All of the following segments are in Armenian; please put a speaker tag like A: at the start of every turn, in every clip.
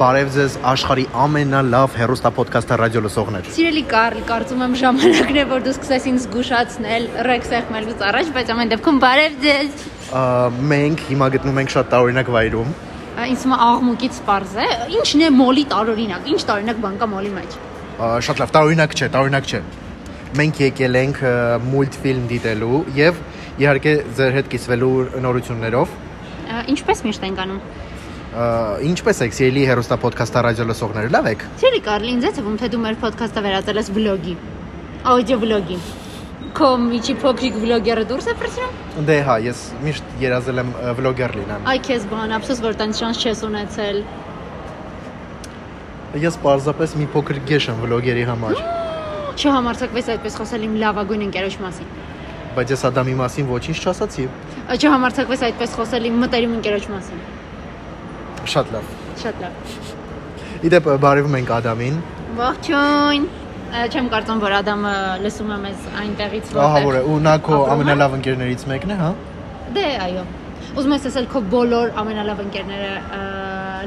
A: Բարև ձեզ աշխարի ամենալավ հերոստապոդքասթը ռադիո լսողներ։
B: Սիրելի Կարլ, կարծում եմ ժամանակն է, որ դու սկսես ինձ զգուշացնել Ռեքս եղմելուց առաջ, բայց ամեն դեպքում բարև ձեզ։
A: Ա, Մենք հիմա գտնվում ենք շատ տարօրինակ վայրում։
B: Ա, Ինձ հիմա աղմուկից པարզ է, ինչն է մոլի տարօրինակ, ինչ տարօրինակ բան կա մոլի մեջ։
A: Ա, Շատ լավ, տարօրինակ չէ, տարօրինակ չէ։ Մենք եկել ենք ը, մուլտֆիլմ դիտելու եւ իհարկե ձեր հետ կիսվելու նորություններով։
B: Ա, Ինչպես միշտ ենք անում։
A: Ա, Ինչպե՞ս եք, սիրելի հերոստապոդքասթը ռադիո լսողներ, լավ եք։
B: Սիրելի Կարլ, ինձ է թվում, թե դու մեր ոդքասթը վերածել ես վլոգի։ Աուդիո վլոգի։ Քո միջի փոքրիկ վլոգերը դուրս է ֆրցնում։
A: Դե հա, ես միշտ երազել եմ ը, վլոգեր լինեմ։
B: Այ քեզ բան, ափսոս որ տենց շանս չես ունեցել։
A: Ես պարզապես մի փոքր գեշ եմ վլոգերի համար,
B: Չհամարցակվես այդպես խոսել իմ լավագույն ընկերոջ մասին։
A: բայց ես ադամի մասին ոչինչ չասացի։
B: Ա, Չհամարցակվես այդպես խոսել իմ մտերիմ ընկերոջ մասին։
A: Շատ լավ։
B: Շատ լավ։
A: Իդեպ բարևում ենք Ադամին։
B: Ողջույն։ Ա, Չեմ կարծում, որ Ադամը լսում է մեզ այնտեղից
A: Ահա որ է, ու նա քո
B: ապրում է։
A: ամենալավ ընկերներից մեկն է, հա։
B: Դե, այո։ Ուզում ես ասել քո բոլոր ամենալավ ընկերները ա,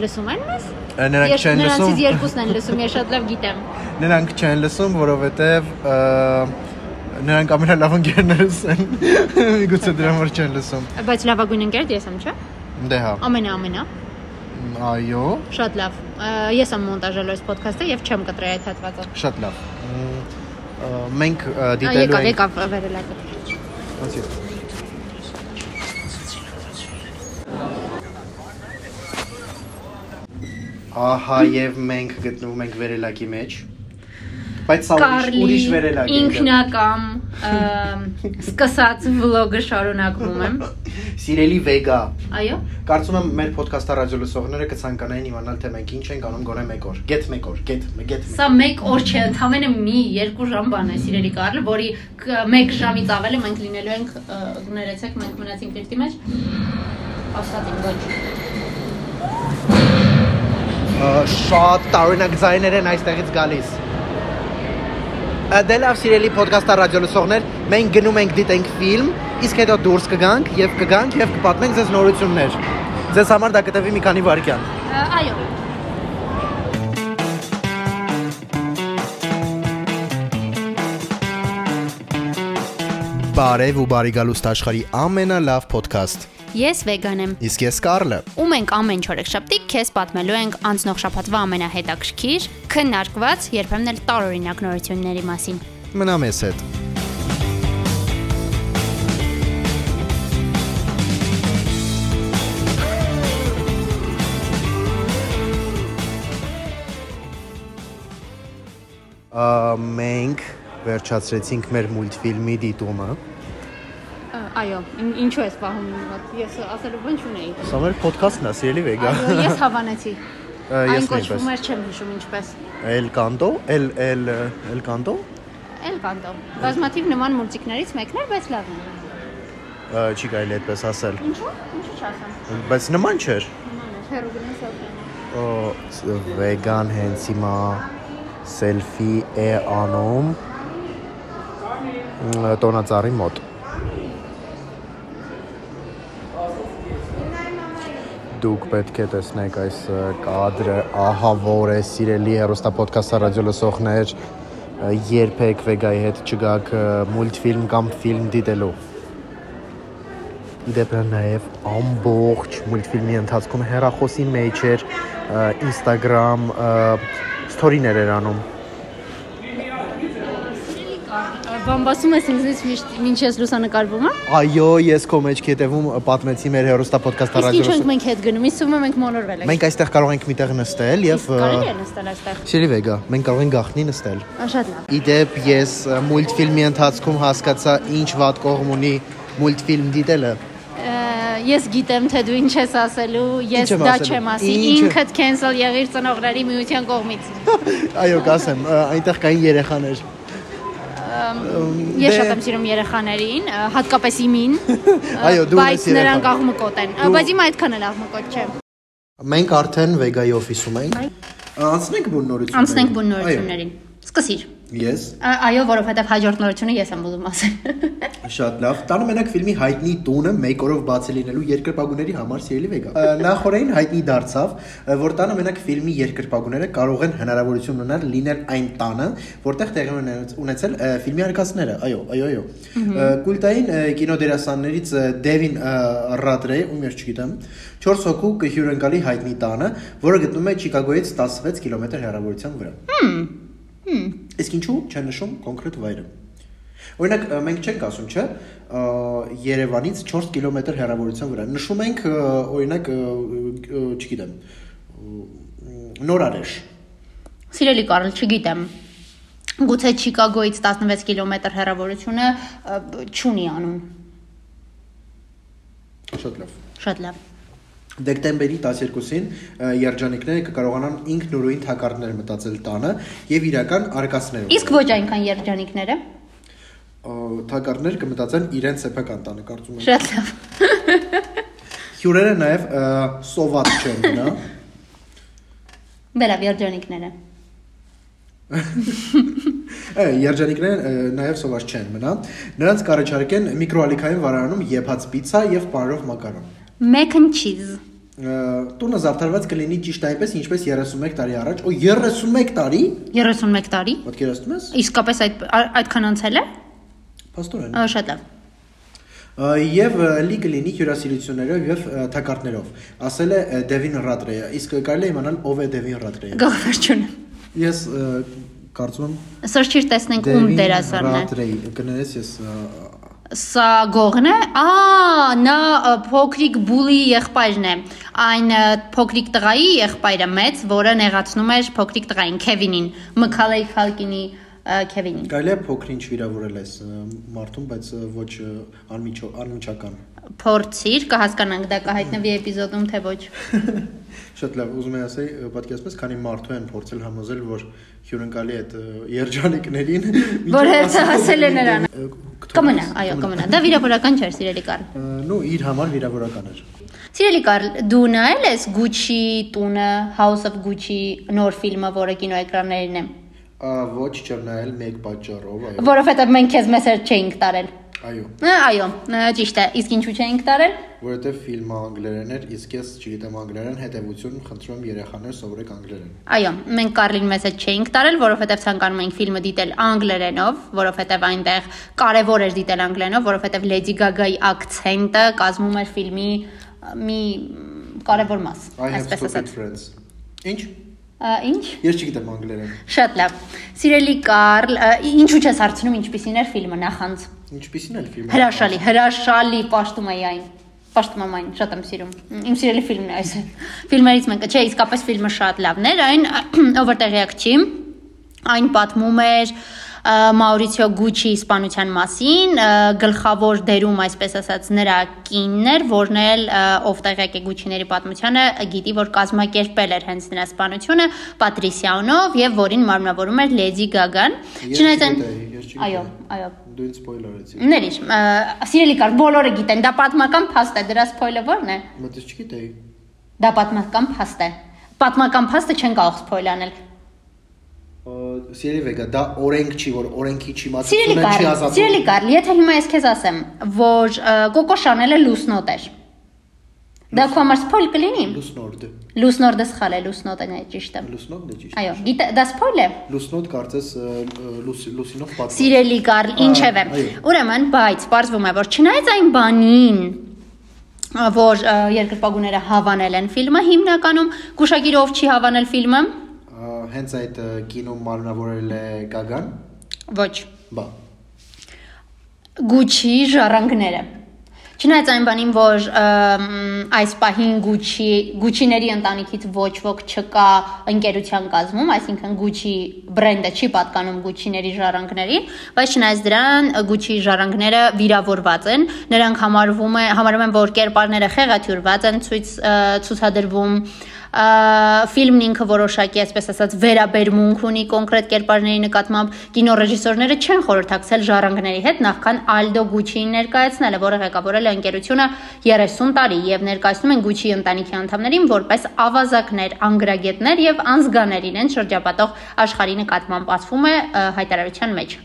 B: լսում են մեզ։
A: Ա, Նրանք
B: Ես-
A: չեն
B: Նրանցից
A: լսում,
B: երկուսն են լսում, ես շատ լավ գիտեմ։
A: նրանք չեն լսում, որովհետև ը, նրանք ամենալավ ընկերներս են։ Միգուցե դրա համար չեն լսում։
B: Բայց լավագույն ընկերդ ես եմ, չէ՞։
A: Դե հա։
B: Ամենաամենա։
A: Այո,
B: Շատ լավ։ Ա, Ես եմ մոնտաժելու այս ոդքասթը եւ չեմ կտրել այդ հատվածը։
A: շատ լավ։ Մ, ը, Մենք ը,
B: Ա,
A: դիտելու
B: Եկավ,
A: ենք
B: եկավ վերել այդ։
A: Ոնց է։ Ահա եւ մենք գտնվում ենք վերելակի մեջ։ Բայց սա ուրիշ
B: Կարլի
A: ուրիշ վերելակ է։
B: ինքնակամ ա, սկսած վլոգը շարունակվում եմ։
A: Սիրելի Վեգա,
B: Այո։
A: կարծում եմ մեր ոդքասթը ռադիո լսողները կցանկանային իմանալ թե մենք ինչ ենք անում գոնե մեկ օր։ Get մեկ օր, get, get։ մեկ-
B: Սա մեկ օր չէ, ընդամենը մի երկու ժամ բան է սիրելի Կարլ, որի կ- մեկ ժամից ավելը մենք լինելու ենք ը, ներեցեք, մենք մնացինք դիրքի մեջ։ Ասացին ոչ։
A: Ա, Շատ տարօրինակ ձայներ են այստեղից գալիս։ Ա, Դե լավ սիրելի ոդքասթը ռադիո լսողներ, մենք գնում ենք դիտենք ֆիլմ, իսկ հետո դուրս կգանք եւ կգանք եւ կպատմենք ձեզ նորություններ։ Ձեզ համար դա կտևի մի քանի վայրկյան։
B: Ա, Այո։
A: Բարև ու բարի գալուստ աշխարի ամենալավ ոդքասթ։
B: Ես վեգան եմ։
A: Իսկ ես Կարլը։
B: Ու մենք ամեն չորեքշաբթի քեզ պատմելու ենք անցնող շաբաթվա ամենահետաքրքիր, քննարկված, երբեմն էլ տարօրինակ նորությունների մասին։
A: Մնա մեզ հետ։ Ա, մենք վերջացրեցինք մեր մուլտֆիլմի դիտումը։
B: Այո, ինչու ես պահում ինձ։ Ես ասելու բան չունեի։
A: Սա մեր ոդքասթն է, սիրելի Վեգա։
B: ես հավանեցի։
A: Ա,
B: Այն
A: Ես
B: կոչվում
A: նույնպես։
B: էր չեմ հիշում ինչպես։
A: El Canto, El El El Canto։
B: Էլ կանտո։ Բազմաթիվ նման մուլտիկներից մեկն էր, բայց լավ էր։
A: Ա, Չի կարելի այդպես ասել,
B: Ինչու՞, ինչու՞ չասեմ։
A: բայց նման չէր։
B: Նման էր, հերո գնաց ասեմ։
A: Օ, ս- վեգան հենց հիմա սելֆի է անում մ, տոնածառի մոտ։ Դուք պետք է տեսնեք այս ը, կադրը, ահա որ է սիրելի հերոստա պոդքասթը ռադիո լսողներ, ը, երբեք վեգայի հետ չգաք ը, մուլտֆիլմ կամ ֆիլմ դիտելու։ Իդեպը Դե նաև ամբողջ մուլտֆիլմի ընթացքում հեռախոսի մեջ էր ը, Instagram ը, story-ներ էր անում։
B: Բամբասում ես ինձից միշտ ինչ ես լուսանկարվում եմ։
A: Այո, ես քո մեջքի հետևում ը, պատմեցի մեր հերոստա պոդքասթը ռադիո։
B: Իսկ ինչու ենք
A: լսող-
B: մենք հետ գնում։ Իսկ ում մենք մոլորվել ենք։
A: Մենք այստեղ կարող ենք միտեղ նստել եւ
B: Իսկ Կարելի է նստել այստեղ։
A: Շիրի վեգա, մենք կարող ենք գախնի նստել։
B: Ա, Շատ լավ։
A: Իդեպ ես ը, մուլտֆիլմի ընթացքում հասկացա ինչ վատ կողմ ունի մուլտֆիլմ դիտելը։
B: Ա, Ես գիտեմ, թե դու ինչ ես ասելու, ես
A: Ինչ եմ
B: դա
A: ասելու,
B: չեմ
A: ինչ
B: ասի։
A: Հա, եմ-
B: Ինքդ cancel եղիր ծնողների միության կողմից։
A: Այո, կասեմ, ը, այնտեղ կային երեխաներ։
B: Ես
A: Դե-
B: շատ եմ սիրում երեխաներին, ա, հատկապես իմին։
A: Այո, դու ես
B: Բայց
A: երեխա։
B: նրանք աղմկոտ են։ Ա, Բայց իմ այդքան էլ աղմկոտ չեմ։
A: Մենք արդեն վեգայի օֆիսում ենք։ Անցնենք բուն նորություններին։
B: Անցնենք բուն նորություններին։ Սկսիր։
A: Այո, Ես
B: Ա- Այո, որովհետև հաջորդ նորությունը ես եմ ուզում ասել։
A: շատ լավ։ Տանը մենակ ֆիլմի հայտնի տունը մեկ օրով բաց է լինելու երկրպագուների համար սիրելի վեգա։ Նախորդին հայտնի դարձավ, ը, որ տանը մենակ ֆիլմի երկրպագուները կարող են հնարավորություն ունենալ լինել այն տանը, որտեղ տեղի ունեն- ունեցել ը, ֆիլմի արկածները։ Այո, այո, այո։ Ը, Կուլտային ը, կինոդերասաններից ը, Դևին ը, Ռադրե, ում ես չգիտեմ, 4 հոգու հյուրընկալի հայտնի տանը, որը գտնվում է Չիկագոյից 16 կիլոմետր հեռավորության վրա։ Իսկ ինչու չեն նշում կոնկրետ վայրը։ Օրինակ ը, մենք չենք ասում, չէ, ը, Երևանից 4 կիլոմետր հեռավորության վրա։ Նշում ենք ը, օրինակ, ը, ը, չգիտեմ, ը, Նորարեշ։
B: Սիրելի Կարլ, չգիտեմ։ Գուցե Չիկագոից 16 կիլոմետր հեռավորությունը ա, բ- չունի անուն։
A: Շատ լավ։
B: Շատ լավ։
A: Դեկտեմբերի 12-ին ը, երջանիկները կկարողանան ինքնուրույն թակարդներ մտածել տանը եւ իրական արկածներով։
B: Իսկ ոչ այնքան երջանիկները։
A: Թակարդներ կմտածեն իրենց սեփական տանը, կարծում եմ։
B: Շատ լավ։
A: Հյուրերը նաեւ ը, սոված չեն գնա։
B: Բելա երջանիկները։
A: Է, Երջանիկները ը, նաև սովոր չեն մնա։ Նրանց կառաջարկեն միկրոալիքային վարարանում եփած պիցա եւ պարով մակարոն։
B: Mac and cheese։
A: Ը, Տունը զարդարված կլինի ճիշտ այնպես, ինչպես 31 տարի առաջ։ Օ 31 տարի,
B: 31 տարի։
A: պատկերացնում ես։
B: Իսկապես այդ ա- այդքան անցել է։
A: Պաստորեն։
B: Ա, Շատ լավ։
A: Ա, Եվ ը, լի կլինի հյուրասիրություններով եւ ը, թակարդներով։ Ասել է ը, Դևին Ռադրեյը։ Իսկ կարելի է իմանալ ով է Դևին Ռադրեյը։
B: Գողվերչուն։
A: Ես ը, կարծում եմ
B: Սրճիր տեսնենք ում դերասանն է։
A: Ռադրեյ, կներես ես ը,
B: Սա գողն է։ Ա, նա ը, փոքրիկ բուլի եղբայրն է։ Այն ը, փոքրիկ տղայի եղբայրը մեծ, որը նեղացնում էր փոքրիկ տղային Քևինին, Մքալեի Խալկինի ը, Քևինին։
A: Կարելի է փոքրինչ վիրավորել այս ը, մարդուն, բայց ը, ոչ ը, անմիջո անմիջական։
B: Փորձիր, կհասկանանք դա կհայտնվի էպիզոդում թե ոչ։
A: Շատ լավ, ուզում եմ ասել, ը, պատկերացնես, քանի մարդու են փորձել համոզել, որ հյուրընկալի այդ ը, երջանիկներին
B: Որ հերթը հասել է նրան։ Կմնա, այո,
A: կմնա։
B: կմնա։ Դա վիրավորական չէր, սիրելի Կարլ։
A: Նու իր համար վիրավորական էր։
B: Սիրելի Կարլ, դու նայել ես Gucci տունը, House of Gucci նոր ֆիլմը, որը կինոէկրաններին է։
A: Ա, Ոչ չնայել մեկ պատճառով, այո։
B: Որովհետև մենք քեզ մեսեր չէինք տարել։
A: Այո,
B: Ա, Այո, ա, ճիշտ է։ Իսկ ինչու չենք տարել։
A: որովհետև ֆիլմը անգլերեն էր, իսկ ես չգիտեմ անգլերեն, հետևություն խնդրում եմ երեխաներ սովորեք անգլերեն։
B: Այո, մենք Կարլին մեզ հետ չենք տարել, որովհետև ցանկանում ենք ֆիլմը դիտել անգլերենով, որովհետև այնտեղ կարևոր էր դիտել անգլերենով, որովհետև Lady Gaga-ի акցենտը կազմում էր ֆիլմի ա, մի մ, կարևոր մաս,
A: I have
B: այսպես
A: stupid
B: ասած։
A: friends։ Ինչ։
B: Ա, Ինչ։
A: Ես չգիտեմ անգլերեն։
B: Շատ լավ։ Սիրելի Կարլ, ա, ինչու չես հարցնում ինչպիսին էր ֆիլմը նախանց։
A: Ինչպիսին էլ ֆիլմը։
B: Հրաշալի, հրաշալի պաշտում է այն։ Պաշտում եմ այն, շատ եմ սիրում։ Իմ սիրելի ֆիլմն է այս։ Ֆիլմերից մեկը, չէ, իսկապես ֆիլմը շատ լավն էր, այն over the reaction, այն պատմում էր ը, Մաուրիցիո Գուչի իսպանության մասին, ը, գլխավոր դերում, այսպես ասած, նրա կինն էր, որն էլ ը, ով տեղյակ է Գուչիների պատմությանը, գիտի, որ կազմակերպել էր հենց նրա իսպանությունը Պատրիսիանով եւ որին մարմնավորում էր Լեդի Գագան։
A: Ես
B: Չնայած այն
A: չգիտեի, ես չգիտեի։
B: Այո, այո,
A: Դու ինձ սպոյլեր արեցի։
B: Ներիշ, սիրելի կար, բոլորը գիտեն, դա պատմական փաստ է, դրա սփոյլը ո՞րն է։
A: Մտից չգիտեի։
B: Դա պատմական փաստ է։ Պատմական փաստը չեն կարող սփոյլ անել։
A: Ա, Սիրելի Վեգա, դա օրենք չի, որ օրենքի չի
B: Սիրելի
A: մատուցումը
B: կար,
A: չի ազատում։
B: սիրելի կար, եթե հիմա ես քեզ ասեմ, որ ը, Կոկո Շանելը լուսնոտ էր։ Դա քո համար սփոյլ կլինի։
A: Լուսնորդը։
B: Լուսնորդը սխալ է, լուսնոտն է ճիշտը։
A: Լուսնորդն է ճիշտ։
B: Այո, գիտե, դա սփոյլ է։
A: Լուսնորդ կարծես ը, ը, լուս- լուսինով պատմում։
B: Սիրելի Կարլ, ինչև է։
A: այո։
B: Ուրեմն, բայց ողջվում է, որ չնայած այն բանին, որ ը, երկրպագուները հավանել են ֆիլմը, հիմնականում գուշագիրով չի հավանել ֆիլմը։
A: Ա, Հենց այդ ը, կինոն մարմնավորել է Գագան։
B: Ոչ,
A: Բա։
B: Gucci ժառանգները։ Չնայած այն բանին, որ ըմ, այս պահին Gucci, Gucci-ների ընտանիքից ոչ ոք չկա ընկերության կազմում, այսինքն Gucci բրենդը չի պատկանում Gucci-ների ժառանգներին, բայց չնայած դրան Gucci ժառանգները վիրավորված են, նրանք համարվում է համարում են, որ կերպարները խեղաթյուրված են, ցույց ը, ցուցադրվում ը, ա, ֆիլմն ինքը որոշակի, այսպես ասած, վերաբերմունք ունի կոնկրետ կերպարների նկատմամբ։ Կինոռեժիսորները չեն խորհրդակցել ժառանգների հետ նախքան Ալդո Գուչիին ներկայացնելը, որը ղեկավարել է ընկերությունը 30 տարի եւ ներկայացնում են Գուչիի ընտանիքի անդամներին որպես ավազակներ, անգրագետներ եւ անզգաներ իրեն շրջապատող աշխարհի նկատմամբ ասվում է ա, հայտարարության մեջ։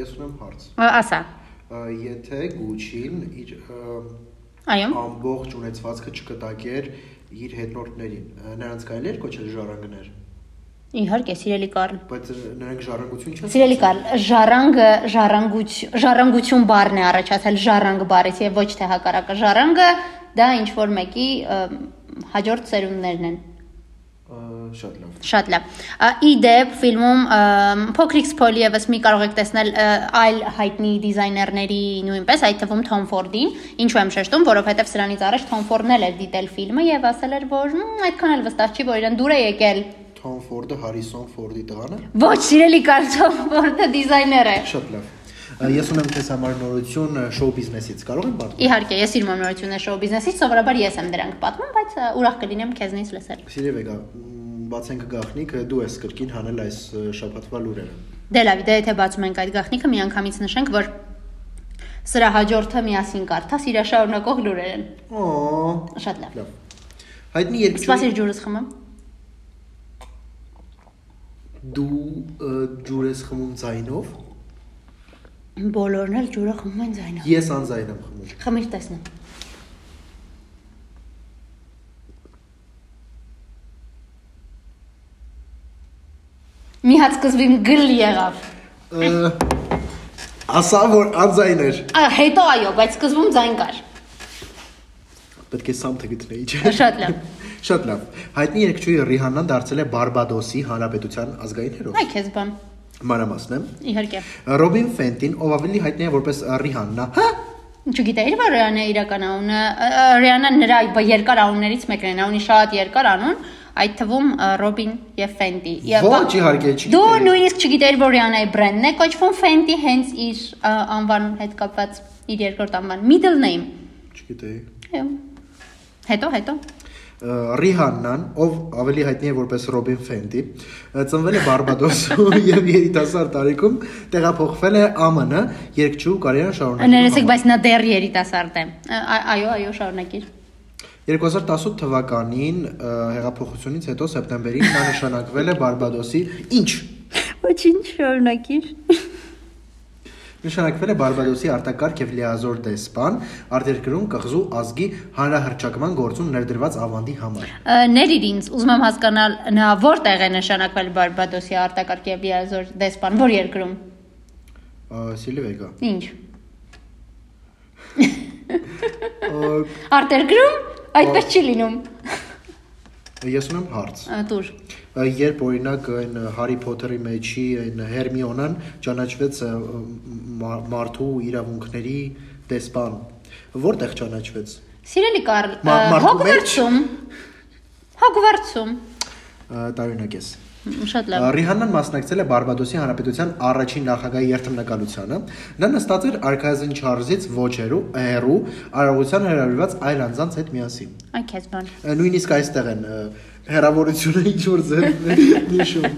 A: Ես ունեմ հարց։
B: Ա, Ասա։
A: Ա, Եթե Gucci-ն իր ա,
B: Այո։
A: ամբողջ ունեցվածքը չկտակեր իր հետնորդներին։ Ա, Նրանց կարելի էր կոչել ժառանգներ,
B: Իհարկե, սիրելի Կարլ։
A: բայց ա, նրանք ժառանգություն չեն։
B: Սիրելի Կարլ, ժառանգը ժառանգուց ժառանգություն բառն է առաջացել ժառանգ բառից եւ ոչ թե հակառակը։ Ժառանգը դա ինչ որ մեկի ըմ, հաջորդ սերունդներն են։
A: Ա, Շատ լավ։
B: Շատ լավ։ Ա, Ի դեպ ֆիլմում ըմ, փոքրիկ սփոլիևս մի կարող եք տեսնել ը, այլ հայտնի դիզայներների նույնպես այդ թվում Թոմ Ֆորդին, ինչու եմ շեշտում, որովհետև սրանից առաջ Թոմ Ֆորդն էլ էր դիտել ֆիլմը եւ ասել էր, որ «Մմ, այդքան էլ վստահ չի, որ իրեն դուր է եկել։
A: Tom Ford-ը Harrison Ford-ի տղան է։
B: Ոչ, սիրելի Կարլ, Թոմ Ֆորդը դիզայներ է։
A: Շատ լավ։ Ա, Ես ունեմ քեզ համար նորություն ա, շոու բիզնեսից։ Կարող եմ բարձր։
B: Իհարկե, ես իր մամնորությունը շոու բիզնեսից սովորաբար ես եմ դրանք պատմում, բայց ա, ուրախ կլինեմ քեզնից լսել։
A: Սիրելի Վեգա, մ, բացենք գախնիկը, դու ես կրկին հանել այս ա, շաբաթվա լուրերը։
B: Դե լավ, դե եթե բացում ենք այդ գաղտնիքը, միանգամից նշենք, որ սրա հաջորդը միասին կարդաս իր շարունակող լուրեր են։
A: Օ,
B: Շատ լավ։
A: լավ։ Հայտնի երկչույն
B: Սպասիր ջուրս խմեմ։
A: դու ա, ջուր ես խմում ձայնով,
B: Բոլորն էլ ջուրը խմում են ձայնով։
A: ես անձայն եմ խմում։
B: Խմիր տեսնեմ։ Մի հատ սկզբին գլ եղավ։
A: Ա, Ասա որ անձայն էր։
B: Ա, Հետո այո, բայց սկզբում ձայն կար։
A: Պետք է something գտնեի, չէ՞։
B: Շատ լավ։
A: Շատ լավ։ Հայտնի երգչուհի Ռիհաննան դարձել է Բարբադոսի հանրապետության ազգային հերոս։
B: Այ քեզ բան։
A: Մանրամասն է։
B: Իհարկե։
A: Ռոբին Ֆենտին, ով ավելի հայտնի է որպես Ռիհաննա, հա,
B: Չգիտեի, որ Ռիանա իրական անունը, Ռիանան նրա բ- երկար անուններից մեկն է, նա ունի շատ երկար անուն, այդ թվում ա, Ռոբին եւ Ֆենտի։ Եվ
A: Ոչ,
B: բա-
A: իհարկե, չգիտեի։
B: Դու նույնիսկ չգիտեիր, որ Ռիանայի բրենդն է կոչվում Ֆենտի, հենց իր ա, անվանուն հետ կապված իր երկրորդ անվան, middle name։
A: չգիտեի։
B: Այո։ Հետո, հետո։
A: Ա, Ռիհաննան, ով ավելի հայտնի է որպես Ռոբին Ֆենտի, ա, ծնվել է Բարբադոսում եւ երիտասարդ տարիքում տեղափոխվել է ԱՄՆ երգչու կարիերան շարունակելու։
B: Ներեցեք, բայց նա դեռ երիտասարդ է։ Ա- ա- Այո, այո, շարունակիր։
A: 2018 թվականին ա, հեղափոխությունից հետո սեպտեմբերին նա նշանակվել է Բարբադոսի ինչ
B: Ոչինչ, շարունակիր։
A: Նշանակվել է Բարբադոսի արտակարգ եւ լիազոր դեսպան արտերկրում կղզու ազգի հանրահրճակման գործում ներդրված ավանդի համար։
B: Ա, Ներիր ինձ, ուզում եմ հասկանալ նա որտեղ է նշանակվել Բարբադոսի արտակարգ եւ լիազոր դեսպան, որ երկրում։
A: Ա, Սիլվեգա։
B: Ինչ։
A: ա,
B: Արտերգրում այդպես չի լինում։
A: Ես ունեմ հարց։
B: Ա, Տուր։
A: Ա, Երբ օրինակ այն Հարի Փոթերի մեջի այն Հերմիոնան ճանաչվեց ա, մա- մարդու իրավունքների դեսպան, որտեղ ճանաչվեց։
B: Սիրելի Կարլ,
A: Մա-
B: ա,
A: մարդու մեջ։
B: Հոգվարցում։ Հոգվարցում։
A: Ա, Տարօրինակ ես։
B: Շատ լավ։
A: Ռիհաննան մասնակցել է Բարբադոսի Հանրապետության առաջին նախագահի երթմնակալությանը։ Նա նստած էր Արքայազն Չարզից ոչերու, հերու, արարողության հրավիրված այլ անձանց հետ միասին։
B: Այ քեզ բան։
A: Նույնիսկ այստեղ են ը, հերավորությունը ինչ որ ձեր նշում։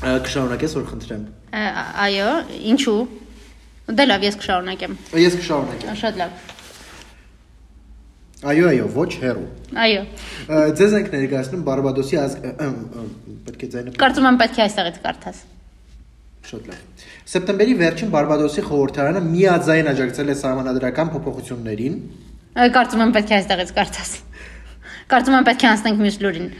A: Ա, Կշարունակես որ խնդրեմ։
B: Ա, ա- Այո, ինչու։ Դե լավ, ես կշարունակեմ։
A: Ես կշարունակեմ։
B: Ա, Շատ լավ։
A: Այո, այո, ոչ հերու։
B: Այո։
A: Ա, Ձեզ ենք ներկայացնում Բարբադոսի ազգ ը, ըմ, ըմ, պետք է ձայնը
B: Կարծում եմ պետք է այստեղից կարդաս։
A: Շատ լավ։ Սեպտեմբերի վերջին Բարբադոսի խորհրդարանը միաձայն աջակցել է համանդրական փոփոխություններին։
B: Ա, Կարծում եմ պետք է այստեղից կարդաս։ Կարծում եմ պետք է անցնենք մյուս լուրին։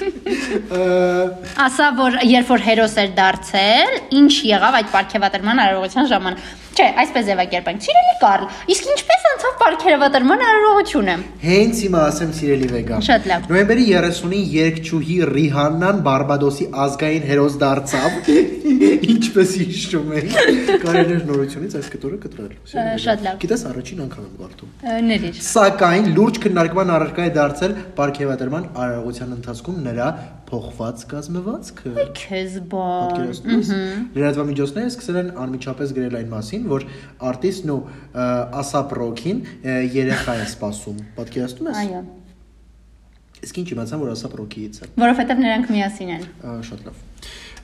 A: Ա,
B: Ասա որ երբ որ հերոս էր դարձել, ինչ եղավ այդ պարգևատրման արարողության ժամանակ։ Չէ, այսպես ձևակերպենք։ Սիրելի Կարլ, իսկ ինչպես անցավ պարգևատրման արարողությունը։
A: Հենց հիմա ասեմ սիրելի վեգա։
B: Շատ լավ։
A: Նոյեմբերի 30-ին երգչուհի Ռիհաննան Բարբադոսի ազգային հերոս դարձավ։ Ինչպես հիշում եք, կարելի էր նորությունից այս կտորը կտրել։ Սիրելի
B: Ա,
A: Վեգա,
B: շատ լավ։
A: Գիտես առաջին անգամ եմ գարտում։
B: Ներիր։
A: Սակայն լուրջ քննարկման առարկա է դարձել Պարքեվատրման արարողության ընթացքում նրա փոխված կազմվածքը։
B: Քեզ բան։
A: Պատկերացնու՞մ ես։ Լրատվամիջոցները սկսել են անմիջապես գրել այն մասին, որ արտիստն ու ա, Ասապ Ռոքին ա, երեխա է սպասում։ Պատկերացնու՞մ ես։
B: Այո։
A: Իսկ ինչ իմացան, որ ասա պրոկիից է։
B: որովհետև նրանք միասին են։
A: Ա, Շատ լավ։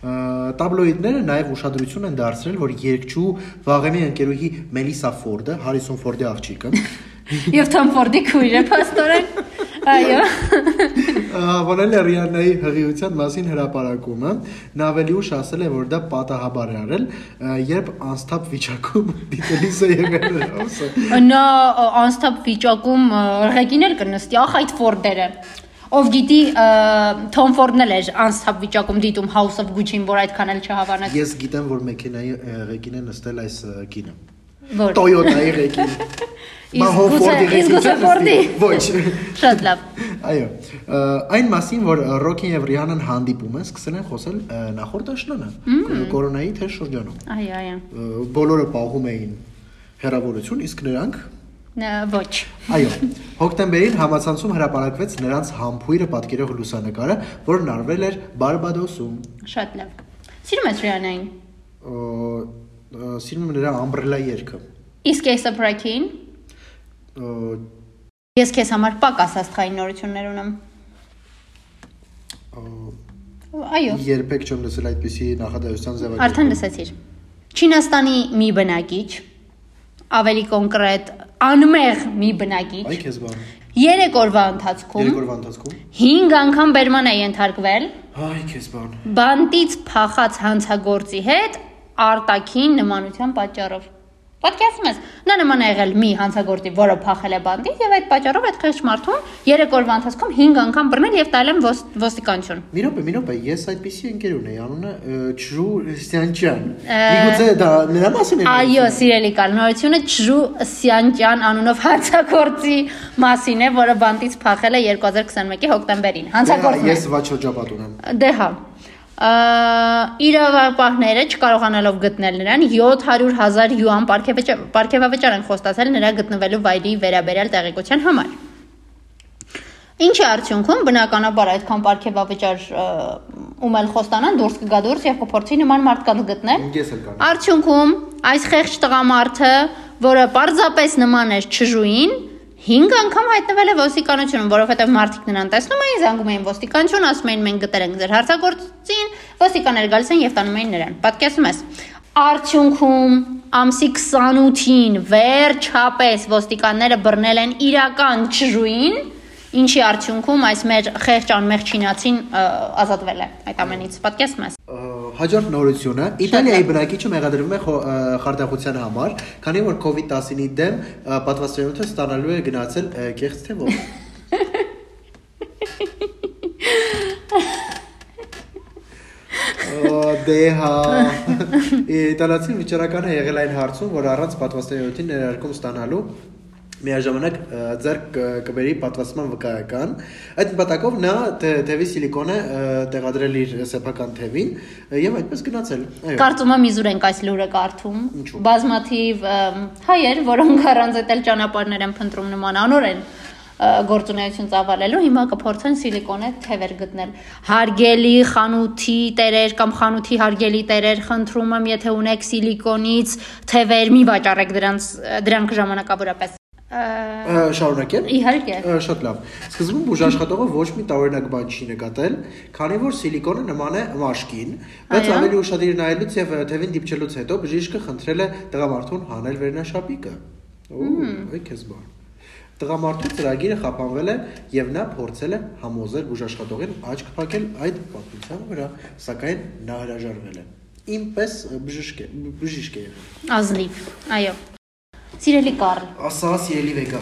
A: Ա, Տաբլոիդները նաև ուշադրություն են դարձրել, որ երկչու վաղեմի ընկերուհի Մելիսա Ֆորդը, Հարիսոն Ֆորդի աղջիկը,
B: Եվ Թոմ Ֆորդի քույրը փաստորեն։ Այո։
A: Ավանել է Ռիանայի հղիության մասին հրապարակումը։ Նա ավելի ուշ ասել է, որ դա պատահաբար է արել, ա, երբ անստապ վիճակում դիտելիս է եղել հոսը։
B: Նա ա, անստապ վիճակում ա, ռեգին էլ կնստի, ախ այդ Ֆորդերը։ Ով գիտի ա, Թոմ Ֆորդն էլ էր անստապ վիճակում դիտում House of Gucci-ին, որ այդքան էլ չհավանեց։
A: Ես գիտեմ, որ մեքենայի ա, ղեկին է նստել այս ա, կինը։
B: Որ
A: Toyota-ի ղեկին։ Բա
B: Իսկ
A: հո
B: գուցե-
A: Ford-ի
B: իսկ
A: ղեկին
B: գուցե
A: չէ նստի։
B: Ford-ի։
A: Ոչ։
B: շատ լավ։
A: Այո, ը, այն մասին, որ Ռոքին եւ Ռիանան հանդիպում են, սկսել են խոսել ը, նախորդ աշնանը, կորոնայի թե շրջանում։
B: Այո, այո։
A: Ը, Բոլորը պահում էին հերավորություն, իսկ նրանք
B: Նա ոչ։
A: Այո, հոկտեմբերին համացանցում հրապարակվեց նրանց համբույրը պատկերող լուսանկարը, որն արվել էր Բարբադոսում։
B: Շատ լավ։ Սիրում ես Ռիանային։
A: Ը, ը, Սիրում եմ նրա ամբրելա երգը։
B: Իսկ ես սպրակին։
A: Ը,
B: Ես քեզ համար պակ ասաստխային նորություններ ունեմ։
A: ը,
B: Այո։
A: Երբեք չեմ լսել այդպիսի նախադասության ձևակերպ։
B: Արդեն լսեցիր։ Չինաստանի մի բնակիչ, ավելի կոնկրետ անմեղ մի բնակիչ,
A: Այ քեզ բան։
B: 3 օրվա ընթացքում
A: Երկրորդ ընթացքում։
B: 5 անգամ բերման է ենթարկվել
A: Այ քեզ բան։
B: բանտից փախած հանցագործի հետ արտակին նմանության պատճառով։ Պատկերացնում ես, նա նման է եղել մի հանցագործի, որը փախել է բանտից եւ այդ պատճառով այդ քիչ մարդուն 3 օրվա ընթացքում 5 անգամ բռնել եւ տալեն ոս- ոստիկանություն։
A: Մի րոպե, մի րոպե, ես այդպիսի ընկեր ունեի, անունը ը, Չժու Սյանչյան։
B: Ա,
A: Միգուցե դա նրա մասին է։
B: Այո, սիրելի կալ, նորությունը Չժու Սյանջյան անունով հանցագործի մասին է, որը բանտից փախել է 2021-ի հոկտեմբերին։ Հանցագործն է։
A: Ես վաչոջապատ ունեմ։
B: Դե հա։ Ա, Իրավապահները չկարողանալով գտնել նրան 700.000 յուան պարգևաճ- պարգևավճար են խոստացել նրա գտնվելու վայրի վերաբերյալ տեղեկության համար։ Ինչի արդյունքում բնականաբար այդքան պարգևավճար ը, ումել խոստանան դուրս կգա դուրս եւ կփորձի նման մարդկանց գտնել։
A: Ես էլ կան։
B: Արդյունքում այս խեղճ տղամարդը, որը պարզապես նման էր չժուին, 5 անգամ հայտնվել է ոստիկանությունում, որովհետև մարդիկ նրան տեսնում էին, զանգում էին ոստիկանություն, ասում էին մենք գտել ենք ձեր հարցագործին, ոստիկանները գալիս են եւ տանում էին նրան։ Պատկերացնում ես։ Արդյունքում ամսի 28-ին վերջապես ոստիկանները բռնել են իրական չժուին, ինչի արդյունքում այս մեր խեղճ անմեղ չինացին ը, ազատվել է այդ ամենից։ Պատկերացնում ես։
A: Ա, Հաջորդ նորությունը Իտալիայի բնակիչը մեղադրվում է խո- ա, խարդախության համար, քանի որ COVID-19-ի դեմ ա, պատվաստանյութը ստանալու է գնացել ա, կեղծ թևով։ Ա, Դե հա Իտալացի վիճարական է եղել այն հարցում, որ առանց պատվաստանյութի ներարկում ստանալու միաժամանակ ա, ձեռք ա, կբերի պատվաստման վկայական այդ նպատակով նա թե- թևի սիլիկոնը ա, տեղադրել իր սեփական թևին ա, եւ այդպես գնացել այո
B: Կարծում եմ իզուր ենք այս լուրը կարդում։
A: Ինչու՞։
B: Բազմաթիվ ըմ, հայեր, որոնք առանց այդել ճանապարհներ են փնտրում նման անորեն ը, գործունեություն ծավալելու, հիմա կփորձեն սիլիկոնե թևեր գտնել։ Հարգելի խանութի տերեր կամ խանութի հարգելի տերեր, խնդրում եմ, եթե ունեք սիլիկոնից թևեր, մի վաճառեք դրանց դրանք ժամանակավորապես։ Ա,
A: Ա, շարունակեմ
B: Իհարկե։
A: Ա, Շատ լավ։ Սկզբում բուժաշխատողը ոչ մի տարօրինակ բան չի նկատել, քանի որ սիլիկոնը նման է մաշկին, բայց
B: Այո։
A: ավելի ուշադիր նայելուց եւ թևին դիպչելուց հետո բժիշկը խնդրել է տղամարդուն հանել վերնաշապիկը։ Ու, այ քեզ բան։ Տղամարդու ծրագիրը խափանվել է եւ նա փորձել է համոզել բուժաշխատողին աչք փակել այդ պատմության վրա, սակայն նա հրաժարվել է։ Իմպես բժիշկ է, բժիշկ է եղել։
B: Ազնիվ։ Այո։ Սիրելի Կարլ,
A: Ասա, սիրելի վեգա,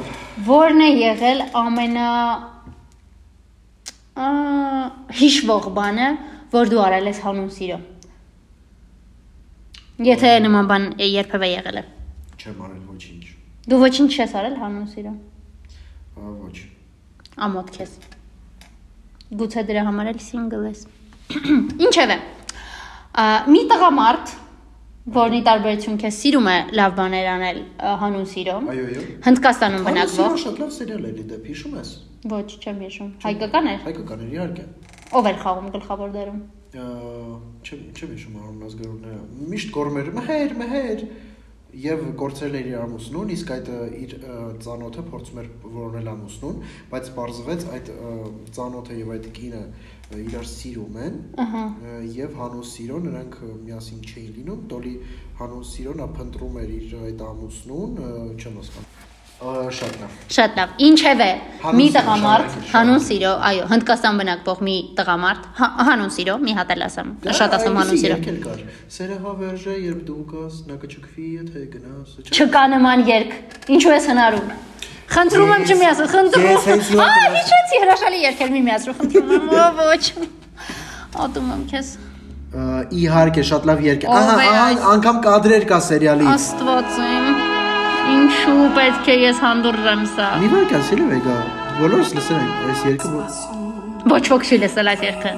B: Որն է եղել ամենա ա, հիշվող բանը, որ դու արել ես հանուն սիրո։ Եթե նման բան է- երբևէ եղել է։
A: չեմ արել ոչինչ։
B: Դու ոչինչ չես արել հանուն սիրո։
A: Ա, Ոչ։
B: Ամոթ քեզ։ Գուցե դրա համար էլ single ես։ Ինչևէ, ա, մի տղամարդ, որնի տարբերություն քեզ սիրում է լավ բաներ անել ա, հանուն սիրո,
A: Այո, այո։
B: Հնդկաստանում
A: Բնակվող
B: բնակվող։
A: շատ լավ սերիալ է դեպի, հիշում ես։
B: Ոչ, չեմ հիշում։ Հայկական էր։
A: Հայկական էր իհարկե։
B: Ով էր խաղում գլխավոր դերում։
A: Ա, Չեմ չեմ հիշում առանց ազգանունները։ Միշտ կորմեր, մհեր, մհեր։ եւ կորցրել էր իր ամուսնուն, իսկ այդ ը, իր ը, ծանոթը փորձում էր որոնել ամուսնուն, բայց բարձվեց այդ ը, ծանոթը եւ այդ կինը ը, իրար սիրում են
B: Ահա։
A: ը, եւ Հանոս Սիրո նրանք ը, միասին չէին լինում, Տոլի Հանոս Սիրոնը փնտրում էր իր այդ ամուսնուն, ը, չեմ հասկանում։ Շատ լավ։
B: Շատ լավ։ Ինչևէ,
A: Հանուն
B: մի
A: սիրո, շարունակիր,
B: տղամարդ, հանուն սիրո, այո, հնդկաստան բնակ բող մի տղամարդ, հա- հանուն սիրո, մի հատ էլ ասեմ, շատ ասեմ հանուն սիրո։
A: Եկել կար։ Սերահավերժը, երբ դու գաս, նա կճկվի, եթե գնաս։ չէ՞։
B: Չկա նման երգ։ Ինչու ես հնարում։ Խնդրում եմ
A: Ես-
B: չմիացրու,
A: ես հենց նոր մտածում-
B: խնդրում։ Ա, հիշեցի հրաշալի երգեր մի միացրու, խնդրում եմ, ո ոչ։ Ատում եմ քեզ։
A: Ա, Իհարկե, շատ լավ երկ։
B: Ով
A: Ահա,
B: է
A: ահա,
B: այս-
A: անգամ կադրեր կա սերիալից։
B: Աստված իմ։ Ինչու պետք է ես հանդուրժեմ սա։
A: Մի բան կասել եմ եկա։ Բոլորս լսել ենք այս երգը։ որ-
B: Ոչ ոք չի լսել այս երգը։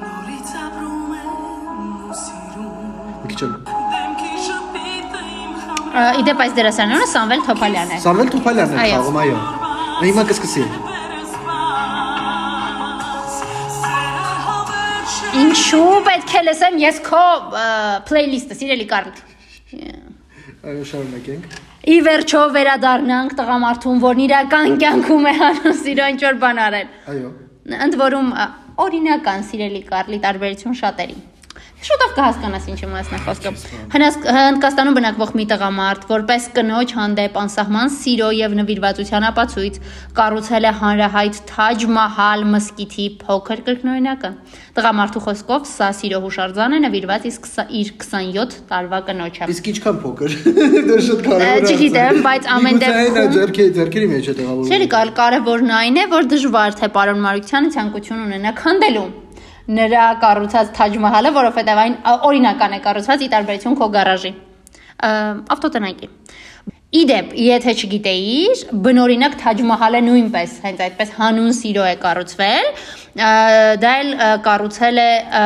C: Նորից ապրում եմ ու սիրում,
A: Մի քիչ։ էլ։
C: դեմքի շփիթը իմ
B: Ա,
C: խմրում,
B: Իդեպ այս դերասանուհը Սամվել Թոփալյանն է։
A: Սամվել Թոփալյանն է
B: Այո։
A: խաղում, այո։ Հիմա կսկսի։
C: վերսված, սերը հավերժը
B: Ինչու պետք է լսեմ ես քո ա, playlist-ը, սիրելի Կարլ։
A: Այո, շարունակենք։
B: Ի վերջո վերադառնանք տղամարդուն, որն իրական կյանքում է հանուն սիրո ինչ որ բան արել։
A: Այո։
B: ընդ որում ա, օրինական սիրելի Կարլի տարբերություն շատերի շուտով կհասկանաս ինչի մասն է խոսքը հնաս հնդկաստանում բնակվող մի տղամարդ որպես կնոջ հանդեպ անսահման սիրո եւ նվիրվածության ապացույց կառուցել է հանրահայտ Թաջ Մահալ մսկիթի փոքր կրկնօրինակը տղամարդու խոսքով սա սիրո հուշարձան է նվիրված իսկ սա- իր 27 տարվա կնոջը
A: Իսկ ինչքան փոքր։ Դա շատ կարևոր է։
B: չգիտեմ, բայց ամեն
A: Միգուցե
B: դեպքում-
A: այն ձերքի ձերքերի մեջ է
B: Չէ՞
A: տեղավորվում։
B: կար կարևորն այն է, որ դժվար թե պարոն Մարությանը ցանկություն ունենակ հանդելու նրա կառուցած Թաջ Մահալը, որովհետև այն ա, օրինական է կառուցված՝ ի տարբերություն քո գարաժի։ ա, Ավտոտնակի։ Իդեպ, եթե չգիտեիր, բնօրինակ Թաջ Մահալը նույնպես հենց այդպես հանուն սիրո է կառուցվել։ ա, Դա էլ ա, կառուցել է ա,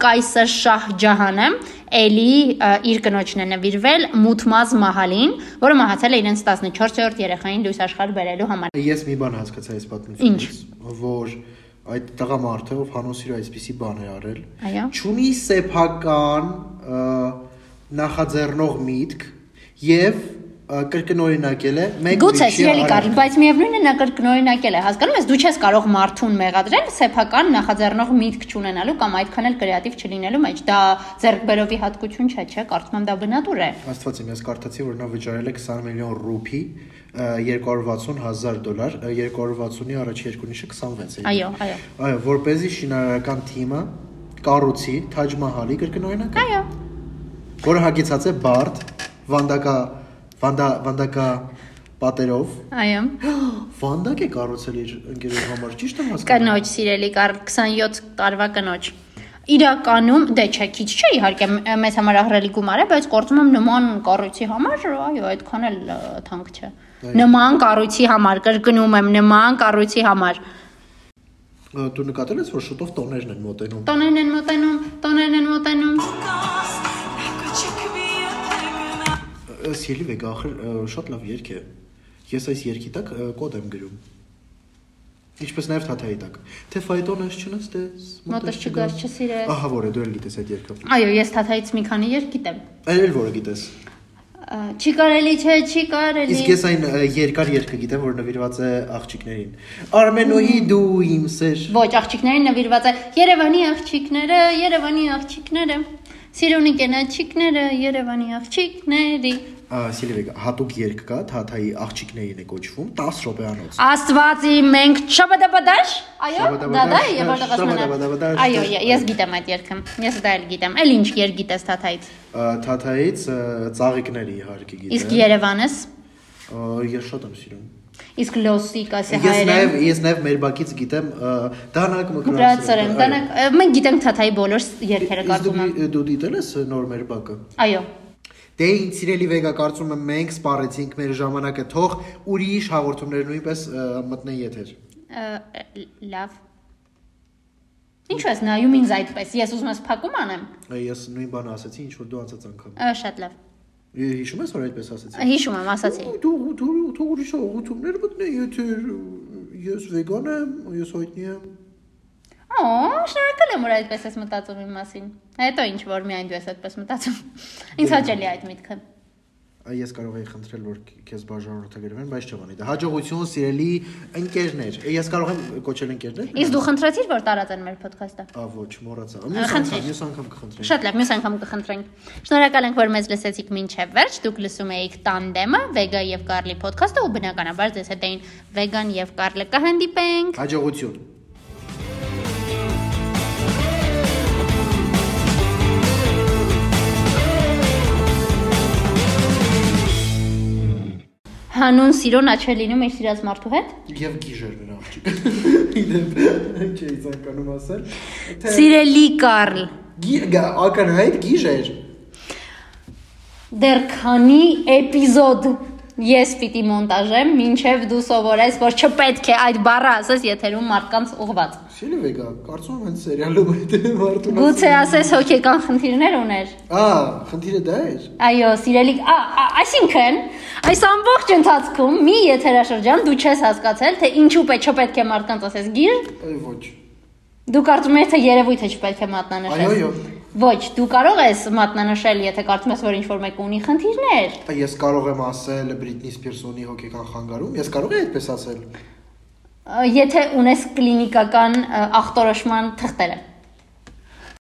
B: Կայսր Շահ Ջահանը, Էլի ա, իր կնոջն է նվիրվել Մութմազ Մահալին, որը մահացել է իրենց 14-րդ երեխային լույս աշխարհ բերելու համար։
A: Ես մի բան հասկացա այս պատմությունից, որ այդ տղամարդը, ով Հանոսիրը այսպիսի բան է արել,
B: Այո։
A: Չունի սեփական ը, նախաձեռնող միտք եւ ը, կրկնօրինակել է մեկ
B: Գուցե
A: ուրիշի
B: սիրելի
A: արարք։
B: Կարլ, բայց միևնույնն է նա կրկնօրինակել է։ Հասկանում ես, դու չես կարող մարդուն մեղադրել սեփական նախաձեռնող միտք չունենալու կամ այդքան էլ կրեատիվ չլինելու մեջ։ Դա ձերբերովի հատկություն չէ, չէ՞, կարծում եմ դա բնադուր է։
A: Աստված իմ, ես կարդացի, որ նա վճարել է 20 միլիոն ռուփի, 260000 դոլար, ը, 260-ի առաջ երկունիշը 26 է։
B: Այո, այո։
A: Այո, որ เป զի շինարարական թիմը կառուցի Թաջ Մահալի կրկնօրինակը,
B: Այո։
A: որը հագեցած է բարդ, վանդակա, վանդա, վանդակա պատերով։
B: Այո։
A: Վանդակ է կառուցել իր ընկերոջ համար, ճիշտ եմ հասկանում։
B: Կնոջ, սիրելի Կարլ, 27 տարվա կնոջ։ Իրականում դե չէ, քիչ չէ իհարկե մ- մեզ համար ահռելի գումար է, բայց կարծում եմ նման կառույցի համար, այո, այդքան էլ ա, թանկ չէ։ Նման կառույցի համար կրկնում եմ, նման կառույցի համար։
A: Ա, Դու նկատել ես, որ շուտով տոներն են մոտենում։
B: Տոներն են մտնում, տոներն են մտնում։
C: կաս, նա կճկվի եթե գնա,
A: Սիրելի վեգա, ախր ա, շատ լավ երգ է։ Ես այս երգի տակ ա, կոդ եմ գրում։ Ինչպես նաև թաթայի տակ։ Թե ֆայտոնես չնստես,
B: Մոտս չգաս, չսիրես։
A: Ահա որ է, դու էլ գիտես այդ երգը։
B: Այո, ես թաթայից մի քանի երկ գիտեմ։
A: Այլ էլ որը գիտես։
B: Ա, Չի կարելի, չէ, չի կարելի։
A: Իսկ ես այն ա, երկար երգը գիտեմ, որ նվիրված է աղջիկներին։ Արմենոյի դու իմ սեր։
B: Ոչ, աղջիկներին նվիրված է Երևանի աղջիկները, Երևանի աղջիկները։ Սիրունի կենաչիկները, Երևանի աղջիկների։
A: Ա, Սիրելի վեգա, հատուկ երգ կա, թաթայի աղջիկներին է կոչվում 10 րոպեանոց։
B: Աստվածի մենք շաբադաբադաշ, այո, դա դա է, եւ որտեղ ասում
A: շաբադաբադաշ,
B: են։ Այո,
A: շաբադաբադաշ,
B: ե- ես գիտեմ այդ երգը։ Ես դա էլ գիտեմ։ Էլ ինչ երգ գիտես թաթայից։
A: Ա, Թաթայից ա, ծաղիկների իհարկե
B: Իսկ
A: գիտեմ։
B: Երևանս,
A: Ա, Ես շատ եմ սիրում։
B: իսկ լոսիկ, ասի
A: Ես
B: հայերեն։
A: նաև ես նաև մեր բակից գիտեմ ը, դանակ
B: Մկրացրեն,
A: մկրացրեն։
B: դանակ, ը, մենք գիտենք թաթայի բոլոր ս- երգերը կարծում եմ։
A: Իսկ դու դիտել ես նոր մեր բակը։
B: Այո։
A: Դե ինձ իրելի վեգա կարծում եմ մենք սպառեցինք մեր ժամանակը թող ուրիշ հաղորդումներ նույնպես ը, մտնեն եթեր։
B: ը, ը, Լավ։ Ինչու ես նայում ինձ այդպես։ Ես ուզում ես փակում անեմ։
A: Ա, Ես նույն բանը ասացի, ինչ որ դու անցած անգամ։
B: Ա, Շատ լավ։
A: Ի, Հիշում ես որ այդպես ասացի։
B: Հիշում եմ, ասացի։
A: Ու, Դու դու դու ուրիշ հաղորդումներ մտնեն եթեր։ Ես վեգան եմ, ես հայտնի եմ։
B: Ա, Օ, շնորհակալ եմ, որ այդպես ես մտածում իմ մասին։ Հետո ինչ որ միայն դու ես այդպես մտածում։ Ինչ հաճելի է այդ միտքը։
A: Ես կարող եի խնդրել, որ քեզ բաժանորդագրվեն, բայց չվանի դա։ Հաջողություն, սիրելի ընկերներ։ Ես կարող եմ կոչել ընկերներ։
B: Իսկ դու խնդրեցիր, որ տարածեն մեր ոդքասթը։
A: Ա ոչ, մոռացա։ Մյուս անգամ, մյուս անգամ կխնդրեմ։
B: Շատ լավ, մյուս անգամ կխնդրենք։ Շնորհակալ ենք, որ մեզ լսեցիք մինչև վերջ։ Դուք լսում էիք Tandem-ը, Vega եւ Carly podcast-ը ու բնականաբար ձեզ հետ էին Vegan եւ Carly-ը կհանդիպենք։
A: Հաջողություն։
B: Հանուն սիրոն աչել լինում իր սիրած մարդու հետ։
A: Եվ գիժեր նրա աղջիկ։ Իդեպ չէի ցանկանում ասել, թե
B: Սիրելի Carl,
A: գիգա ականհայտ գիժեր։
B: դեռ քանի էպիզոդ ես պիտի մոնտաժեմ, ինչև դու սովորես, որ չպետք է այդ բառը ասես եթերում մարդկանց ուղված։
A: Սիրելի վեգա, կարծում եմ հենց սերիալում այդ մարդուն։
B: Գուցե ասես հոգեկան խնդիրներ ուներ։
A: Ա, խնդիրը դա էր։
B: Այո, սիրելի, ա, ա, այսինքն, այս ամբողջ ընթացքում մի եթերաշրջան դու չես հասկացել, թե ինչու պետք չպետք է մարդկանց ասես գիր,
A: Այ ոչ։
B: դու կարծում ես, թե երևույթը չպետք է մատնանշես։
A: Այո, այո։
B: Ոչ, դու կարող ես մատնանշել, եթե կարծում ես, որ ինչ-որ մեկը ունի խնդիրներ։
A: Ա, Ես կարող եմ ասել Բրիտնի Սպիրսոնի հոգեկան խանգարում, ես կարող եմ այդպես ասել։
B: Ա, Եթե ունես կլինիկական ա, ախտորոշման թղթերը։